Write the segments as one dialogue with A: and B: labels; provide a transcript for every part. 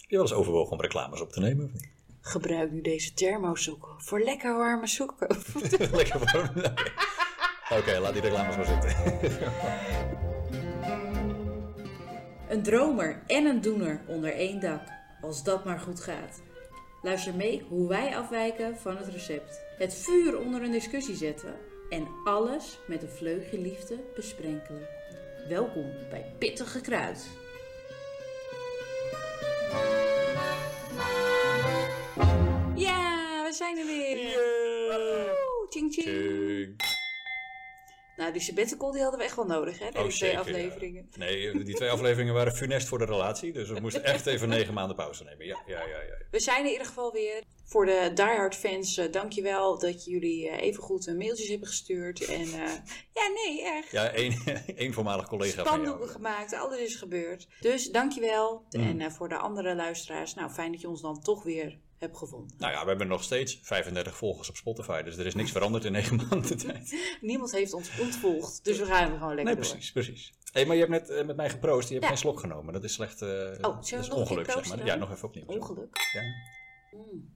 A: Heb je wel eens overwogen om reclames op te nemen? of niet?
B: Gebruik nu deze thermosoek voor lekker warme soeken.
A: Lekker warm. Oké, Oké, laat die reclames maar zitten.
C: Een dromer en een doener onder één dak, als dat maar goed gaat. Luister mee hoe wij afwijken van het recept. Het vuur onder een discussie zetten en alles met een vleugje liefde besprenkelen. Welkom bij Pittige Kruid. Ja, we zijn er weer. Woehoe, Ching ching. Nou, die sabbatical die hadden we echt wel nodig, hè? Deze twee
A: Oh, zeker, ja.
B: afleveringen.
A: Nee, die twee afleveringen waren funest voor de relatie. Dus we moesten echt even negen maanden pauze nemen. Ja, ja, ja. ja.
B: We zijn in ieder geval weer. Voor de diehard fans, eh, dankjewel dat jullie eh, evengoed eh, mailtjes hebben gestuurd. En eh, ja, nee, echt.
A: Ja, één, één voormalig collega van jou. Mm.
B: Spandoeken gemaakt, alles is gebeurd. Dus dankjewel. En eh, voor de andere luisteraars, nou fijn dat je ons dan toch weer hebt gevonden.
A: Nou ja, we hebben nog steeds 35 volgers op Spotify. Dus er is niks veranderd in negen maanden tijd.
B: Niemand heeft ons ontvolgd, dus we gaan er gewoon lekker
A: Nee,
B: door.
A: precies, precies. Hé, maar je hebt net eh, met mij geproost. Je hebt
B: Ja. Oh,
A: geen slok genomen. Dat is slecht. eh
B: nog
A: dat
B: een
A: is
B: keer
A: ongeluk, zeg
B: proosten
A: maar.
B: dan?
A: Ja, nog even opnieuw.
B: Ongeluk. Mm.
A: Ja.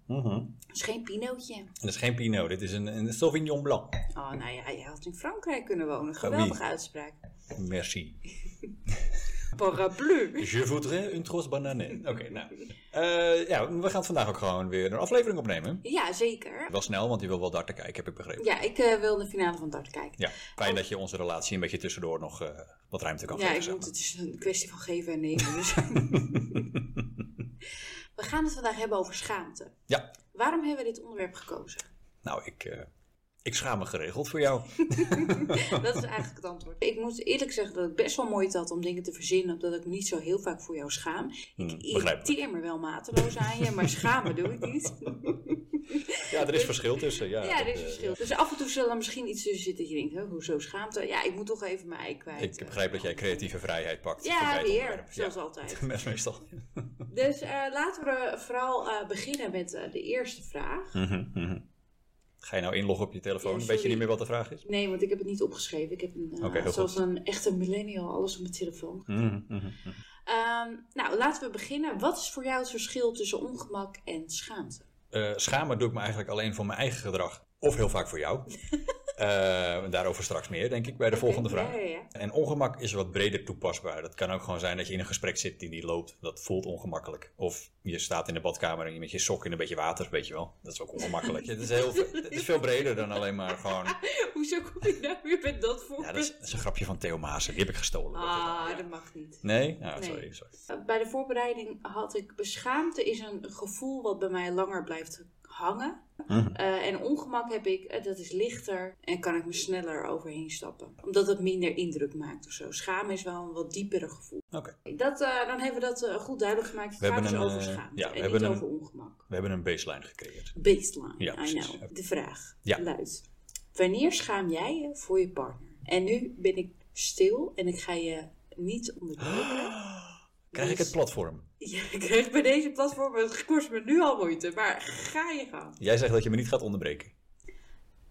A: Mhm.
B: Het is geen pinootje.
A: Dat is geen Pinot. Dit is een, een Sauvignon Blanc.
B: Oh, nou ja, je had in Frankrijk kunnen wonen. Geweldige
A: wie?
B: uitspraak.
A: Merci.
B: Paraplu.
A: Je voudrais une trosse banane. Oké, nou. Eh, ja, we gaan vandaag ook gewoon weer een aflevering opnemen.
B: Ja, zeker.
A: Wel snel, want je wil wel darten kijken, heb ik begrepen.
B: Ja, ik eh, wil de finale van Dart kijken.
A: Ja, fijn dat je onze relatie een beetje tussendoor nog eh, wat ruimte kan
B: Ja,
A: geven.
B: ik
A: zeg
B: moet,
A: maar.
B: het is een kwestie van geven en nemen. Dus. we gaan het vandaag hebben over schaamte.
A: Ja,
B: Waarom hebben we dit onderwerp gekozen?
A: nou, ik, eh, ik schaam me geregeld voor jou.
B: Dat is eigenlijk het antwoord. Ik moet eerlijk zeggen dat ik best wel moeite had om dingen te verzinnen, omdat ik niet zo heel vaak voor jou schaam. Ik
A: Hmm, begrijpelijk.
B: irriteer me wel mateloos aan je, maar schamen doe ik niet.
A: Ja, er is verschil tussen. Ja,
B: Ja, er
A: dat,
B: is
A: eh,
B: verschil. Dus af en toe zal er misschien iets tussen zitten dat je denkt, hè, hoezo schaamte? Ja, ik moet toch even mijn ei kwijt.
A: Ik begrijp dat jij creatieve vrijheid pakt. voor
B: Ja,
A: dit
B: weer,
A: onderwerp.
B: zoals
A: Ja.
B: altijd.
A: Best meestal.
B: Dus eh, laten we vooral eh, beginnen met eh, de eerste vraag.
A: Mhm, Ga je nou inloggen op je telefoon?
B: Ja,
A: Weet je
B: sorry.
A: niet meer wat de vraag is?
B: Nee, want ik heb het niet opgeschreven. Ik heb een, eh,
A: Oké, heel
B: zoals een echte millennial alles op mijn telefoon.
A: Mhm,
B: Ehm, nou, laten we beginnen. Wat is voor jou het verschil tussen ongemak en schaamte?
A: Eh, schamen doe ik me eigenlijk alleen voor mijn eigen gedrag. Of heel vaak voor jou. Eh, daarover straks meer, denk ik, bij de volgende
B: ja,
A: vraag.
B: ja, ja.
A: En ongemak is wat breder toepasbaar. Dat kan ook gewoon zijn dat je in een gesprek zit die niet loopt. Dat voelt ongemakkelijk. Of je staat in de badkamer en je met je sok in een beetje water, weet je wel. Dat is ook ongemakkelijk. het, is heel, het is veel breder dan alleen maar gewoon...
B: Hoezo kom je nou weer met dat
A: Ja,
B: voorbeeld?
A: dat is, dat is een grapje van Theo Maassen. Die heb ik gestolen. Dat is-
B: Ah, dat mag niet.
A: Nee? Nou,
B: Nee.
A: sorry, sorry.
B: Eh, Bij de voorbereiding had ik beschaamte is een gevoel wat bij mij langer blijft hangen. Eh, en ongemak heb ik, eh, dat is lichter en kan ik me sneller overheen stappen. Omdat het minder indruk maakt of zo. Schamen is wel een wat diepere gevoel.
A: Oké.
B: Dat, eh, dan hebben we dat eh, goed duidelijk gemaakt. Het
A: We
B: gaat
A: hebben
B: dus
A: een,
B: over
A: eh,
B: schaamte
A: ja, we
B: en
A: hebben
B: niet
A: een-
B: over ongemak.
A: We hebben een baseline gecreëerd.
B: Baseline,
A: Ja,
B: I
A: precies.
B: know. De vraag
A: Ja.
B: luidt. Wanneer schaam jij je voor je partner? En nu ben ik stil en ik ga je niet onderbreken.
A: Krijg ik
B: Dus-
A: het platform?
B: Ja, ik krijg bij deze platform, het kost me nu al moeite, maar ga je gaan.
A: Jij zegt dat je me niet gaat onderbreken.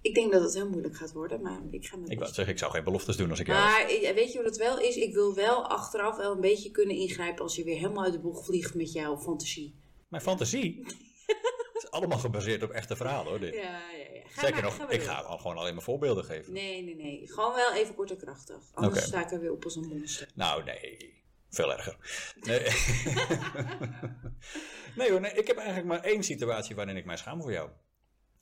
B: Ik denk dat het heel moeilijk gaat worden, maar ik ga mijn
A: Ik wou
B: best
A: zeggen, ik zou geen beloftes doen als ik
B: doen.
A: jou...
B: Maar eh, weet je wat het wel is? Ik wil wel achteraf wel een beetje kunnen ingrijpen als je weer helemaal uit de bocht vliegt met jouw fantasie.
A: Mijn fantasie? Het is allemaal gebaseerd op echte verhalen, hoor. Dit.
B: Ja, ja, ja. Ga
A: Zeker
B: maar,
A: nog,
B: maar
A: ik
B: door.
A: ga al gewoon alleen maar voorbeelden geven.
B: Nee, nee, nee. Gewoon wel even kort en krachtig. Anders
A: Oké.
B: sta ik er weer op als een monster.
A: Nou, nee. Veel erger. Nee, nee hoor, nee, ik heb eigenlijk maar één situatie waarin ik mij schaam voor jou.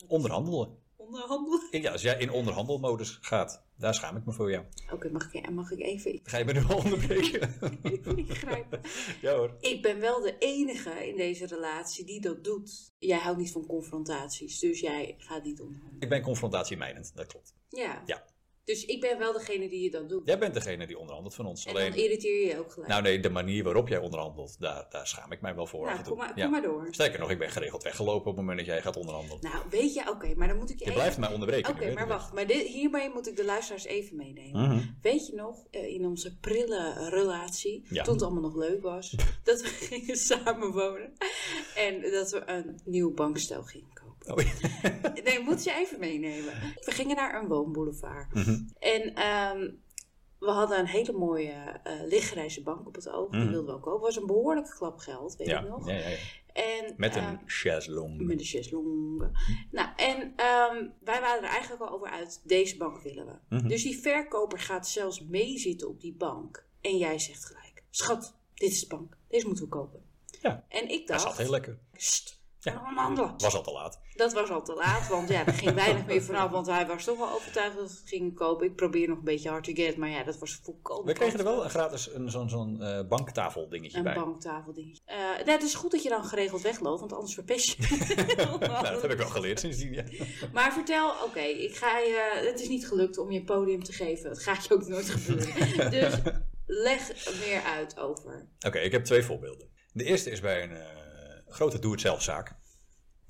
A: Onderhandelen.
B: Onderhandelen.
A: Ja, als jij in onderhandelmodus gaat, daar schaam ik me voor jou.
B: Oké, mag, ik- eh, mag ik even
A: Ga je me nu al onderbreken?
B: ingrijpen?
A: ja hoor.
B: Ik ben wel de enige in deze relatie die dat doet. Jij houdt niet van confrontaties, dus jij gaat niet onderhandelen.
A: Ik ben confrontatiemijdend, dat klopt.
B: Ja.
A: Ja.
B: Dus ik ben wel degene die je dat doet.
A: Jij bent degene die onderhandelt van ons.
B: en
A: Alleen,
B: dan irriteer je je ook gelijk.
A: nou nee, de manier waarop jij onderhandelt, daar, daar schaam ik mij wel voor. af
B: Nou,
A: en toe.
B: kom, maar,
A: Ja.
B: kom maar door.
A: Sterker nog, ik ben geregeld weggelopen op het moment dat jij gaat onderhandelen.
B: Nou, weet je, oké, maar dan moet ik je,
A: Je
B: even...
A: blijft mij onderbreken.
B: Oké,
A: nu, hè,
B: maar
A: dat-
B: wacht. Maar dit, hiermee moet ik de luisteraars even meenemen.
A: Mhm.
B: Weet je nog, eh, in onze prille relatie,
A: Ja.
B: toen het allemaal nog leuk was, dat we gingen samenwonen en dat we een nieuw bankstel gingen kopen.
A: Oh, ja. mhm.
B: Nee, moet je even meenemen. We gingen naar een woonboulevard. En ehm, We hadden een hele mooie eh lichtgrijze bank op het oog.
A: Mhm.
B: Die wilden we ook kopen. Was een behoorlijke klap geld, weet
A: Ja,
B: ik nog.
A: ja, ja, ja.
B: En,
A: Met
B: eh,
A: een chaiselong.
B: Met de chaiselong.
A: Hm.
B: Nou, en ehm, wij waren er eigenlijk al over uit. Deze bank willen we.
A: Mhm.
B: Dus die verkoper gaat zelfs meezitten op die bank. En jij zegt gelijk: Schat, dit is de bank. Deze moeten we kopen.
A: Ja.
B: En ik
A: Hij
B: dacht:
A: zat heel lekker.
B: "Sst,
A: Ja.
B: we gaan onderhandelen."
A: Was al te laat.
B: Dat was al te laat, want ja, er ging weinig meer vanaf. Want hij was toch wel overtuigd dat we het gingen kopen. Ik probeer nog een beetje hard to get, maar ja, dat was volkomen.
A: We kregen er wel een gratis een, zo'n zo'n eh, banktafel dingetje
B: een
A: bij.
B: banktafeldingetje. Eh nou, het is goed dat je dan geregeld wegloopt, want anders verpest je.
A: nou, dat heb ik wel geleerd sindsdien. Ja.
B: Maar vertel, oké, ik ga je. Het is niet gelukt om je podium te geven. Het gaat je ook nooit gebeuren. Dus leg meer uit over.
A: Oké, ik heb twee voorbeelden. De eerste is bij een eh, grote doe-het-zelfzaak.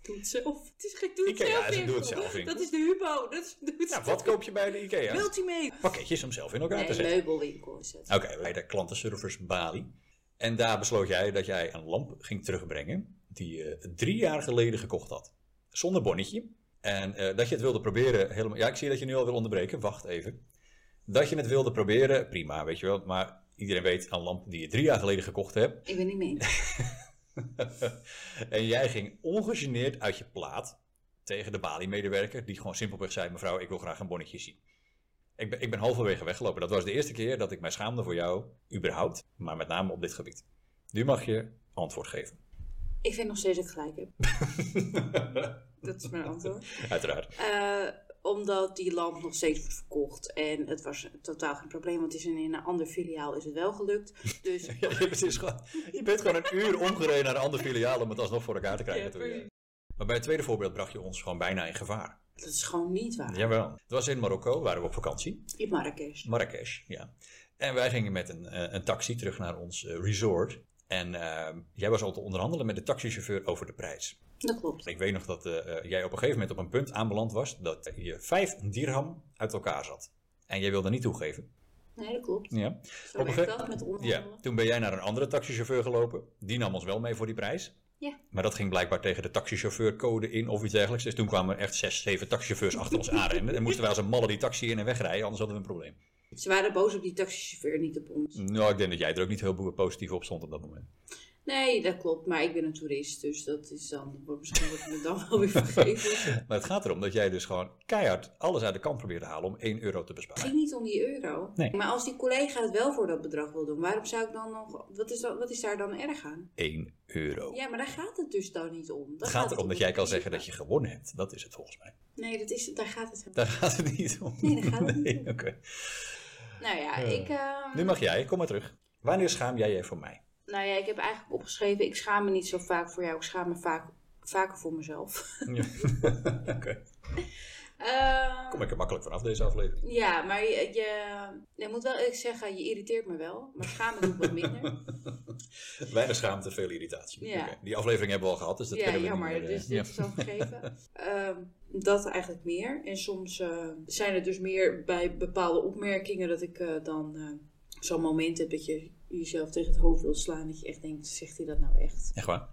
B: Doe het zelf. Het is geen doe het
A: Ikea
B: zelf.
A: is een doe het
B: winkel.
A: zelf winkel.
B: Dat is de Hubo. Dat is doe het
A: Nou,
B: zelf.
A: wat koop je bij de IKEA?
C: Multimate.
A: Pakketjes om zelf in elkaar te
B: Nee,
A: zetten.
B: meubelwinkel is het.
A: Oké, bij de klantenservice Bali. En daar besloot jij dat jij een lamp ging terugbrengen die je drie jaar geleden gekocht had. Zonder bonnetje. En eh, dat je het wilde proberen helemaal... Ja, ik zie dat je nu al wil onderbreken. Wacht even. Dat je het wilde proberen, prima, weet je wel. Maar iedereen weet, een lamp die je drie jaar geleden gekocht hebt,
B: Ik ben niet mee. eens.
A: en jij ging ongegeneerd uit je plaat tegen de Bali-medewerker, die gewoon simpelweg zei: Mevrouw, ik wil graag een bonnetje zien. Ik ben, ik ben halverwege weggelopen. Dat was de eerste keer dat ik mij schaamde voor jou, überhaupt, maar met name op dit gebied. Nu mag je antwoord geven.
B: Ik vind nog steeds dat ik gelijk heb. Dat is mijn antwoord.
A: Uiteraard.
B: Eh, omdat die lamp nog steeds wordt verkocht. En het was totaal geen probleem. Want het is in een ander filiaal is het wel gelukt. Dus
A: Ja, je, bent dus gewoon, je bent gewoon een uur omgereden naar een ander filiaal om het alsnog voor elkaar te krijgen.
B: Ja,
A: natuurlijk.
B: precies.
A: maar bij het tweede voorbeeld bracht je ons gewoon bijna in gevaar.
B: dat is gewoon niet waar.
A: Jawel. Het was in Marokko, waren we op vakantie.
B: In Marrakesh.
A: Marrakesh, ja. En wij gingen met een, eh, een taxi terug naar ons eh, resort. En eh, jij was al te onderhandelen met de taxichauffeur over de prijs.
B: Dat klopt.
A: Ik weet nog dat eh, eh, jij op een gegeven moment op een punt aanbeland was dat je vijf dirham uit elkaar zat. En jij wilde niet toegeven.
B: Nee, dat klopt.
A: Ja.
B: Zo werkt
A: gege-
B: dat met
A: Ja,
B: onderhandelen.
A: toen ben jij naar een andere taxichauffeur gelopen. Die nam ons wel mee voor die prijs.
B: Ja.
A: Maar dat ging blijkbaar tegen de taxichauffeurcode in of iets dergelijks. Dus toen kwamen er echt zes, zeven taxichauffeurs achter ons aanrennen. En moesten wij als een malle die taxi in en wegrijden, anders hadden we een probleem.
B: Ze waren boos op die taxichauffeur, niet op ons.
A: Nou, ik denk dat jij er ook niet heel bo- positief op stond op dat moment.
B: Nee, dat klopt. Maar ik ben een toerist, dus dat is dan... Misschien wordt het me dan wel weer vergeven.
A: Maar het gaat erom dat jij dus gewoon keihard alles uit de kant probeert te halen om 1 euro te
B: Het
A: besparen.
B: ging niet om die euro.
A: Nee.
B: Maar als die collega het wel voor dat bedrag wil doen, waarom zou ik dan nog... Wat is, dat, wat is daar dan erg aan?
A: 1 euro.
B: Ja, maar daar gaat het dus dan niet om.
A: Het
B: Daar
A: gaat erom dat jij kan zeggen dat
B: principe.
A: je gewonnen hebt. Dat is het volgens mij.
B: Nee, dat is, daar gaat het helemaal
A: Daar gaat het niet om.
B: Nee, daar gaat het niet
A: Nee,
B: om.
A: Oké.
B: Nou ja,
A: Eh.
B: ik... ehm,
A: Nu mag jij, kom maar terug. Wanneer schaam jij je voor mij?
B: Nou ja, ik heb eigenlijk opgeschreven, ik schaam me niet zo vaak voor jou. Ik schaam me vaak, vaker voor mezelf.
A: Ja. Oké.
B: Ehm,
A: Kom ik er makkelijk vanaf deze aflevering.
B: Ja, maar je, je, ik moet wel eerlijk zeggen, je irriteert me wel. Maar schamen doet wat minder.
A: Weinig schaamte, veel irritatie.
B: Ja.
A: Oké. Die aflevering hebben we al gehad, dus dat
B: ja,
A: kunnen we
B: jammer.
A: niet meer, eh,
B: dus dit
A: ja.
B: is al gegeven. Ehm, dat eigenlijk meer. En soms eh, zijn er dus meer bij bepaalde opmerkingen dat ik eh, dan eh, zo'n moment heb dat je jezelf tegen het hoofd wil slaan. Dat je echt denkt, zegt hij dat nou echt?
A: Echt waar?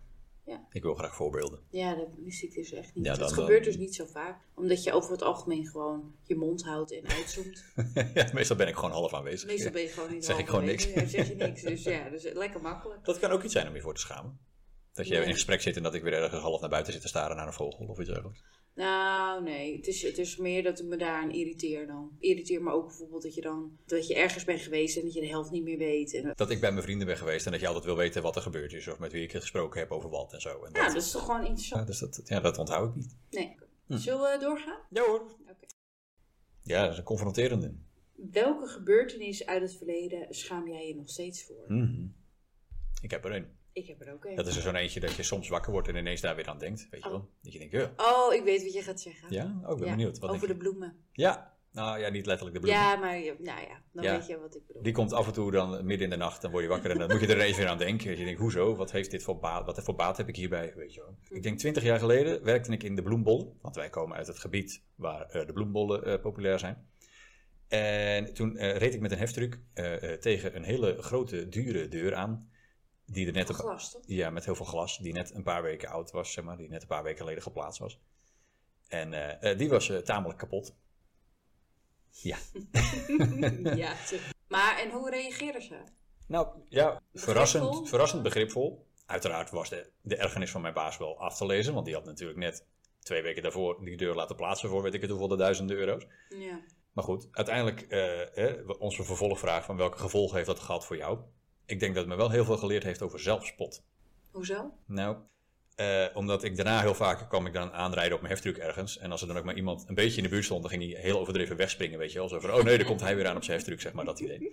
B: Ja.
A: Ik wil graag voorbeelden.
B: Ja, dat wist ik dus echt niet.
A: Ja,
B: dat
A: dan-
B: gebeurt dus niet zo vaak. Omdat je over het algemeen gewoon je mond houdt en uitzoomt.
A: ja, meestal ben ik gewoon half aanwezig.
B: Meestal
A: Ja.
B: ben je gewoon niet
A: Zeg ik gewoon
B: halverwege.
A: niks.
B: Ja, zeg je niks. Dus ja, dus lekker makkelijk.
A: Dat kan ook iets zijn om je voor te schamen. Dat je
B: Ja.
A: in gesprek zit en dat ik weer ergens half naar buiten zit te staren naar een vogel of iets dergelijks.
B: Nou, nee. Het is, het is meer dat ik me daaraan irriteer dan. Irriteer me ook bijvoorbeeld dat je dan... Dat je ergens bent geweest en dat je de helft niet meer weet. En,
A: Dat ik bij mijn vrienden ben geweest en dat je altijd wil weten wat er gebeurd is of met wie ik gesproken heb over wat en zo. En
B: ja,
A: dat,
B: dat is toch gewoon
A: ja,
B: interessant.
A: dus dat, ja, Hm. dat onthoud ik niet.
B: Nee. Zullen we doorgaan?
A: Ja hoor.
B: Oké.
A: Ja, dat is een confronterende.
B: Welke gebeurtenis uit het verleden schaam jij je nog steeds voor?
A: Mhm. Ik heb er een.
B: Ik heb er ook een.
A: Dat is er zo'n eentje dat je soms wakker wordt en ineens daar weer aan denkt. Weet je wel? Dat je denkt, ja,
B: Oh, ik weet wat je gaat zeggen.
A: ja? Oh, ik ben
B: Ja,
A: benieuwd. Wat
B: over
A: denk
B: de
A: je?
B: bloemen.
A: Ja, nou ja, niet letterlijk de bloemen.
B: Ja, maar je- nou ja, dan
A: Ja.
B: weet je wat ik bedoel.
A: Die komt af en toe dan midden in de nacht, dan word je wakker en dan moet je er ineens weer aan denken. Dat Je denkt, hoezo? Wat heeft dit voor baat? Wat voor baat heb ik hierbij? Weet je wel. Ik denk twintig jaar geleden werkte ik in de bloembollen, want wij komen uit het gebied waar eh, de bloembollen eh, populair zijn. En toen eh, reed ik met een heftruck eh, eh, tegen een hele grote, dure deur aan, die er net op,
B: Glas, toch?
A: ja, met heel veel glas, die net een paar weken oud was, zeg maar, die net een paar weken geleden geplaatst was. En eh, eh, die was eh, tamelijk kapot.
B: ja, zeg. Maar en hoe reageren ze?
A: Nou ja, verrassend,
B: Begripvol?
A: verrassend begripvol. Uiteraard was de, de ergernis van mijn baas wel af te lezen, want die had natuurlijk net twee weken daarvoor die deur laten plaatsen voor weet ik het hoeveel de duizenden euro's.
B: Ja.
A: Maar goed, uiteindelijk eh, hè, we- onze vervolgvraag van welke gevolgen heeft dat gehad voor jou? Ik denk dat het me wel heel veel geleerd heeft over zelfspot.
B: Hoezo?
A: Nou, eh, omdat ik daarna heel vaak kwam ik dan aanrijden op mijn heftruck ergens. En als er dan ook maar iemand een beetje in de buurt stond, dan ging hij heel overdreven wegspringen, weet je wel. Zo van, oh nee, daar komt hij weer aan op zijn heftruck, zeg maar, dat idee.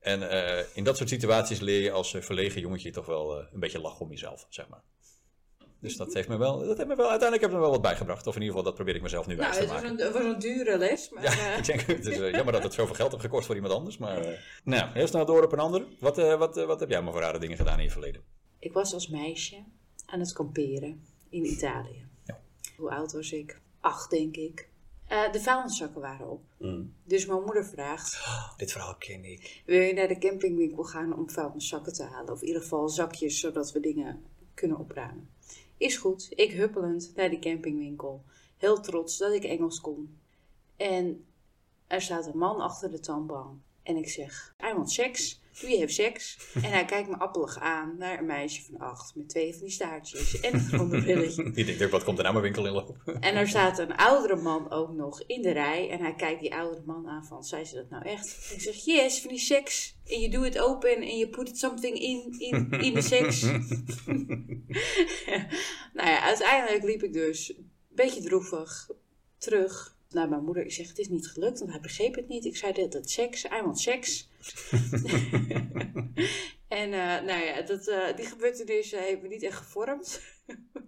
A: En eh, in dat soort situaties leer je als eh, verlegen jongetje toch wel eh, een beetje lachen om jezelf, zeg maar. Dus dat heeft me wel, dat heeft me wel, uiteindelijk heb ik me wel wat bijgebracht. Of in ieder geval, dat probeer ik mezelf nu wijs
B: Nou,
A: te
B: het was
A: maken.
B: een, het was een dure les, maar
A: Ja,
B: eh,
A: ik denk, het is eh, jammer dat het zoveel geld heeft gekost voor iemand anders. Maar, eh, nou, heel snel door op een ander. Wat, eh, wat, eh, wat heb jij maar voor rare dingen gedaan in je verleden?
B: ik was als meisje aan het kamperen in Italië.
A: Ja.
B: Hoe oud was ik? Acht, denk ik. Eh, de vuilniszakken waren op.
A: Mm.
B: Dus mijn moeder vraagt,
A: Dit verhaal ken ik.
B: wil je naar de campingwinkel gaan om vuilniszakken te halen? Of in ieder geval zakjes, zodat we dingen kunnen opruimen. Is goed. Ik huppelend naar de campingwinkel. Heel trots dat ik Engels kon. En er staat een man achter de toonbank. En ik zeg, I want seks. Wie heeft seks? En hij kijkt me appelig aan naar een meisje van acht. Met twee van die staartjes en een onderbrilletje.
A: Die denkt ook, wat komt er nou mijn winkel in lopen?
B: En er staat een oudere man ook nog in de rij. En hij kijkt die oudere man aan van, zei ze dat nou echt? Ik zeg, yes, van die seks. En je doet het open en je put something in, in, in de seks. nou ja, uiteindelijk liep ik dus een beetje droevig terug naar mijn moeder. Ik zeg, het is niet gelukt, want hij begreep het niet. Ik zei, dat, dat seks, I want seks. en eh, nou ja, dat, eh, die gebeurtenis eh, heeft me niet echt gevormd.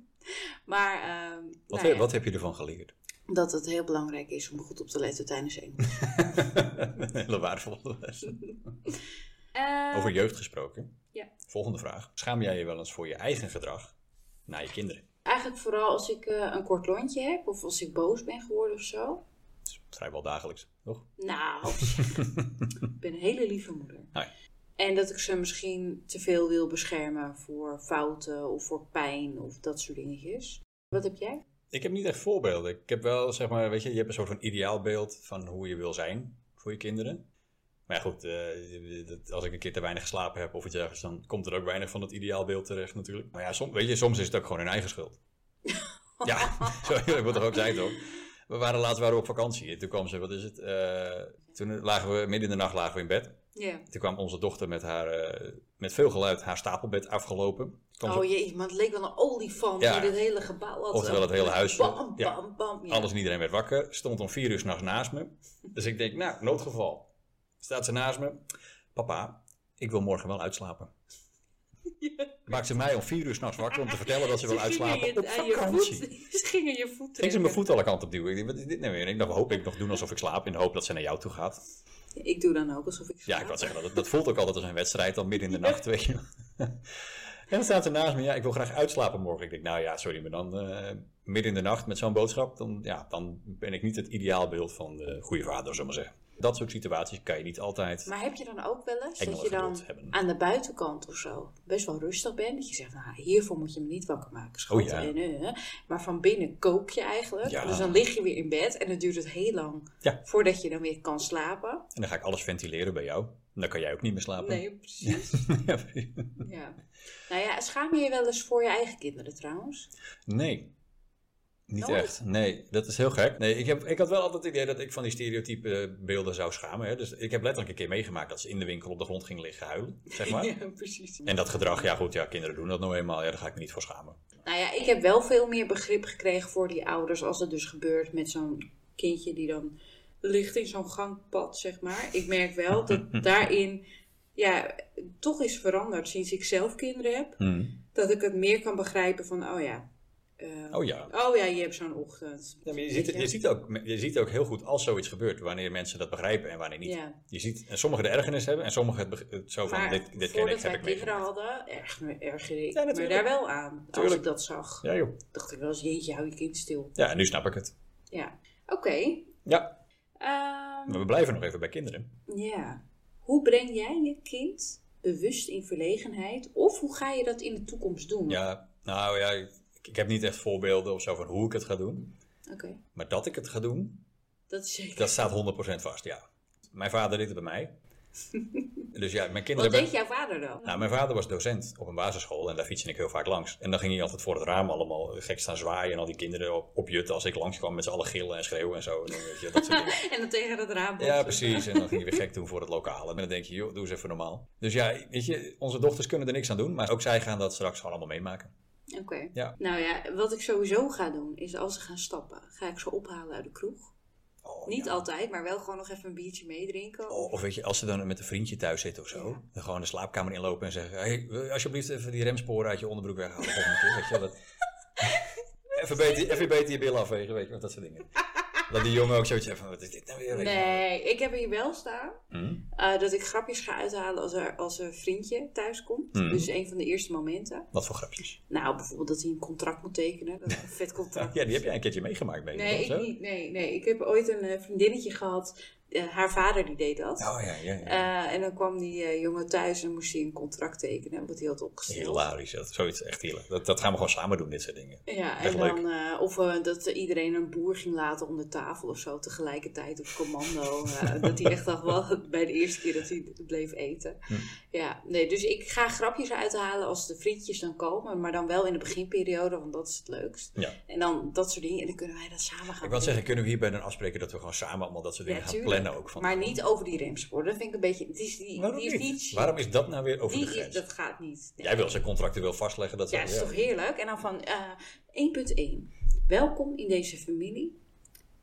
B: maar, ehm,
A: Wat,
B: nou ja
A: wat heb je ervan geleerd?
B: dat het heel belangrijk is om goed op te letten tijdens Engels.
A: Een hele waardevolle les. Over jeugd gesproken.
B: Nou. Ja.
A: Volgende vraag. Schaam jij je wel eens voor je eigen gedrag naar je kinderen?
B: Eigenlijk vooral als ik eh, een kort lontje heb of als ik boos ben geworden of zo.
A: Dat is vrijwel dagelijks, toch?
B: Nou, ik ben een hele lieve moeder.
A: Hoi.
B: En dat ik ze misschien te veel wil beschermen voor fouten of voor pijn of dat soort dingetjes. Wat heb jij?
A: Ik heb niet echt voorbeelden. Ik heb wel, zeg maar, weet je, je hebt een soort van ideaalbeeld van hoe je wil zijn voor je kinderen. Maar ja, goed, eh, dat- als ik een keer te weinig geslapen heb of iets ergens, dan komt er ook weinig van dat ideaalbeeld terecht natuurlijk. Maar ja, som, weet je, soms is het ook gewoon hun eigen schuld. ja, zo eerlijk moet er ook zijn toch? We waren laatst waren we op vakantie. En toen kwam ze, wat is het? eh, toen lagen we, midden in de nacht lagen we in bed.
B: Ja.
A: Toen kwam onze dochter met haar, eh, met veel geluid, haar stapelbed afgelopen. Kwam ze-
B: Oh jee, maar het leek wel een olifant
A: Ja.
B: die dit hele gebouw had.
A: Oftewel het hele huis.
B: Bam,
A: Ja.
B: bam, bam. Ja.
A: Alles en iedereen werd wakker. Stond om vier uur s'nachts naast me. Dus ik denk, nou, noodgeval. Staat ze naast me. Papa, ik wil morgen wel uitslapen. Maakt ze mij om vier uur s'nachts wakker om te vertellen dat ze wil
B: gingen
A: uitslapen
B: je,
A: op
B: aan je
A: vakantie.
B: voet, ze gingen je voeten.
A: Ging ze mijn voet alle kanten op duwen. Ik denk, wat is dit nou weer? En ik dacht, hoop ik nog doen alsof ik slaap in de hoop dat ze naar jou toe gaat.
B: Ik doe dan ook alsof ik
A: Ja, ik
B: slaap.
A: wou zeggen, dat, dat voelt ook altijd als een wedstrijd dan midden in de nacht, weet je wel. En dan staat ze naast me, ja, ik wil graag uitslapen morgen. Ik denk, nou ja, sorry, maar dan eh, midden in de nacht met zo'n boodschap, dan, ja, dan ben ik niet het ideaalbeeld van de goede vader, zullen we maar zeggen. Dat soort situaties kan je niet altijd.
B: Maar heb je dan ook wel eens dat
A: Engelen
B: je dan
A: geduld hebben.
B: aan de buitenkant of zo best wel rustig bent? Dat je zegt, nou, hiervoor moet je me niet wakker maken, schat.
A: Oh ja.
B: en, eh, maar van binnen kook je eigenlijk.
A: Ja.
B: Dus dan lig je weer in bed en dan duurt het heel lang
A: Ja.
B: voordat je dan weer kan slapen.
A: En dan ga ik alles ventileren bij jou. En dan kan jij ook niet meer slapen.
B: Nee, precies.
A: Ja.
B: ja. Nou ja, schaam je je wel eens voor je eigen kinderen trouwens?
A: nee. Niet
B: Nooit?
A: echt. Nee, dat is heel gek. Nee, ik, heb, ik had wel altijd het idee dat ik van die stereotype beelden zou schamen. Hè. Dus ik heb letterlijk een keer meegemaakt dat ze in de winkel op de grond ging liggen huilen, zeg maar.
B: Ja, precies.
A: En dat gedrag, ja goed, ja, kinderen doen dat nou eenmaal. Ja, daar ga ik me niet voor schamen.
B: Nou ja, ik heb wel veel meer begrip gekregen voor die ouders als het dus gebeurt met zo'n kindje die dan ligt in zo'n gangpad, zeg maar. Ik merk wel dat daarin, ja, toch is veranderd sinds ik zelf kinderen heb. Dat ik het meer kan begrijpen van, oh ja, eh,
A: Oh ja.
B: oh ja, je hebt zo'n ochtend.
A: Ja, maar je, ziet, je, ziet ook, je ziet ook heel goed als zoiets gebeurt, wanneer mensen dat begrijpen en wanneer niet.
B: Ja.
A: Je ziet en sommigen de ergernis hebben en sommigen het, beg- het zo van,
B: Maar
A: dit, dit ken ik, heb
B: voordat wij
A: ik
B: kinderen
A: meegemaakt.
B: hadden, erg- ergerde ik
A: Ja,
B: me
A: natuurlijk.
B: daar wel aan. Als
A: Tuurlijk.
B: ik dat zag,
A: Ja, joh.
B: dacht ik wel eens, jeetje, hou je kind stil.
A: Ja, en nu snap ik het.
B: Ja, oké.
A: Ja,
B: Ehm,
A: maar we blijven nog even bij kinderen.
B: Ja. Hoe breng jij je kind bewust in verlegenheid? Of hoe ga je dat in de toekomst doen?
A: Ja, nou ja, ik, ik heb niet echt voorbeelden of zo van hoe ik het ga doen.
B: Oké,
A: Maar dat ik het ga doen,
B: dat is zeker.
A: dat staat 100% vast, ja. Mijn vader deed het bij mij. Dus ja, mijn kinderen... hebben-
B: Wat deed jouw vader dan?
A: Nou, mijn vader was docent op een basisschool en daar fietste ik heel vaak langs. En dan ging hij altijd voor het raam allemaal gek staan zwaaien en al die kinderen op, opjutten als ik langskwam met z'n allen gillen en schreeuwen en zo. En dan, weet je, dat soort dingen.
B: En dan tegen het raam
A: Ja, precies. En dan ging je weer gek doen voor het lokaal. En dan denk je, joh, doe eens even normaal. Dus ja, weet je, onze dochters kunnen er niks aan doen, maar ook zij gaan dat straks gewoon allemaal meemaken.
B: Oké.
A: Ja.
B: Nou ja, wat ik sowieso ga doen, is als ze gaan stappen, ga ik ze ophalen uit de kroeg.
A: Oh,
B: Niet
A: ja.
B: altijd, maar wel gewoon nog even een biertje meedrinken.
A: Oh, of weet je, als ze dan met een vriendje thuis zitten of zo,
B: Ja.
A: dan gewoon de slaapkamer inlopen en zeggen: hey, wil je alsjeblieft even die remsporen uit je onderbroek weghalen. Of een keer, weet je, wel, dat... even, beter, even beter je billen afwegen, weet je, wel, dat soort dingen. Dat die jongen ook zoiets heeft van: wat is dit nou weer? weet je wel.
B: Nee, ik heb hier wel staan
A: Hm?
B: eh, dat ik grapjes ga uithalen als er, als er een vriendje thuis komt.
A: Mhm.
B: Dus een van de eerste momenten.
A: Wat voor grapjes?
B: Nou, bijvoorbeeld dat hij een contract moet tekenen. Dat is een vet contract.
A: Ja, die heb jij een keertje meegemaakt, denk
B: Nee,
A: of zo?
B: ik niet. Nee, nee. Ik heb ooit een eh, vriendinnetje gehad. eh, haar vader die deed dat.
A: Oh ja, ja, ja.
B: Eh, en dan kwam die eh, jongen thuis en moest hij een contract tekenen, omdat hij had opgesteld.
A: Hilarisch, dat, zoiets echt hilarisch. Dat, dat gaan we gewoon samen doen, dit soort dingen.
B: Ja,
A: Echt
B: en
A: leuk.
B: dan, eh, of eh, dat iedereen een boer ging laten onder tafel of zo tegelijkertijd op commando. eh, dat hij echt dacht, wel bij de eerste keer dat hij bleef eten.
A: Hm.
B: Ja, nee, dus ik ga grapjes uithalen als de vriendjes dan komen, maar dan wel in de beginperiode, want dat is het leukst.
A: Ja.
B: En dan dat soort dingen, en dan kunnen wij dat samen gaan
A: Hm. Ik wil
B: doen.
A: zeggen, kunnen we hierbij dan afspreken dat we gewoon samen allemaal dat soort
B: Ah, Ja,
A: dingen gaan
B: tuurlijk.
A: plannen ook? Van
B: Maar niet over die remspoor, dat vind ik een beetje, die is, die,
A: Waarom
B: die is
A: niet?
B: niet chic.
A: Waarom is dat nou weer over de
B: die
A: grens?
B: is, dat gaat niet. Nee.
A: Jij wil zijn contracten wil vastleggen. Dat
B: Ja,
A: ze-
B: dat is toch heerlijk? En dan van eh 1.1. Welkom in deze familie.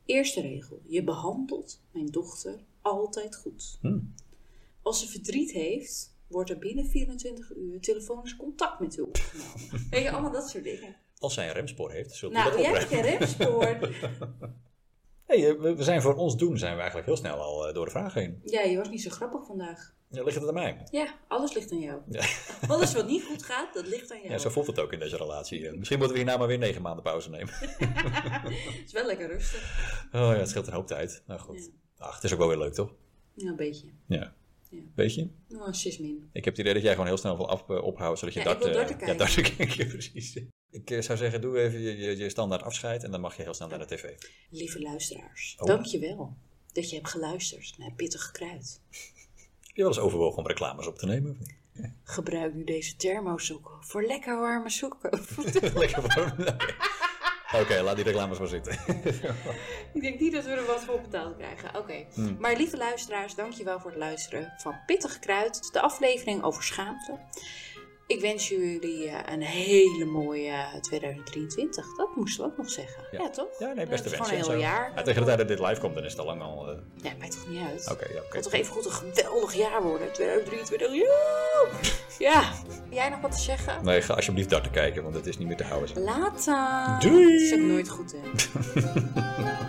B: Eerste regel. Je behandelt mijn dochter altijd goed.
A: Hm.
B: Als ze verdriet heeft, wordt er binnen 24 uur telefonisch contact met u opgenomen. Weet je, allemaal dat soort dingen.
A: Als zij een remspoor heeft, zult u dat
B: Nou, jij hebt
A: opruimen.
B: geen remspoor.
A: Hey, eh, we we zijn voor ons doen zijn we eigenlijk heel snel al eh, door de vraag heen.
B: Ja, je was niet zo grappig vandaag.
A: Ja, ligt het aan mij?
B: Ja, alles ligt aan jou.
A: Ja.
B: Alles wat niet goed gaat, dat ligt aan jou.
A: Ja, zo voelt het ook in deze relatie. Eh, Misschien moeten we hierna maar weer negen maanden pauze nemen.
B: Het is wel lekker rustig.
A: Oh ja, het scheelt een hoop tijd. Nou goed. Ach, het is ook wel weer leuk, toch?
B: Ja, een beetje.
A: Ja.
B: Ja.
A: Weet je?
B: Nou, een zes min.
A: Ik heb het idee dat jij gewoon heel snel wil af, eh, ophouden, zodat je
B: Ja,
A: dat
B: ik wil darten
A: Ja,
B: kijken.
A: darten kijken, precies. Ik eh, zou zeggen, doe even je, je, je standaard afscheid en dan mag je heel snel naar de tv.
B: Lieve luisteraars,
A: Oh.
B: dankjewel dat je hebt geluisterd naar Pittig Kruid.
A: Heb je wel eens overwogen om reclames op te nemen?
B: Gebruik nu deze thermosokken voor lekker warme sokken.
A: Lekker warm. Nee. Oké, laat die reclames maar zitten.
B: Ik denk niet dat we er wat voor betaald krijgen. Oké.
A: Hmm.
B: Maar lieve luisteraars, dankjewel voor het luisteren van Pittig Kruid, de aflevering over schaamte. Ik wens jullie eh, een hele mooie 2023. Dat moesten we ook nog zeggen. Ja,
A: Ja.
B: toch?
A: Ja, nee,
B: Dat
A: beste wensen.
B: is gewoon een
A: en
B: heel
A: zo.
B: jaar.
A: Ja, tegen de tijd dat dit live komt, dan is het al lang al... eh,
B: Nee, maakt toch niet uit.
A: Oké, ja, oké.
B: Het kan toch even goed een geweldig jaar worden. 2023. joe! Ja. Heb Jij nog wat te zeggen?
A: Nee, ga alsjeblieft daar te kijken, want het is niet meer te houden.
B: Later.
A: Doei.
B: Dat is ook nooit goed, hè?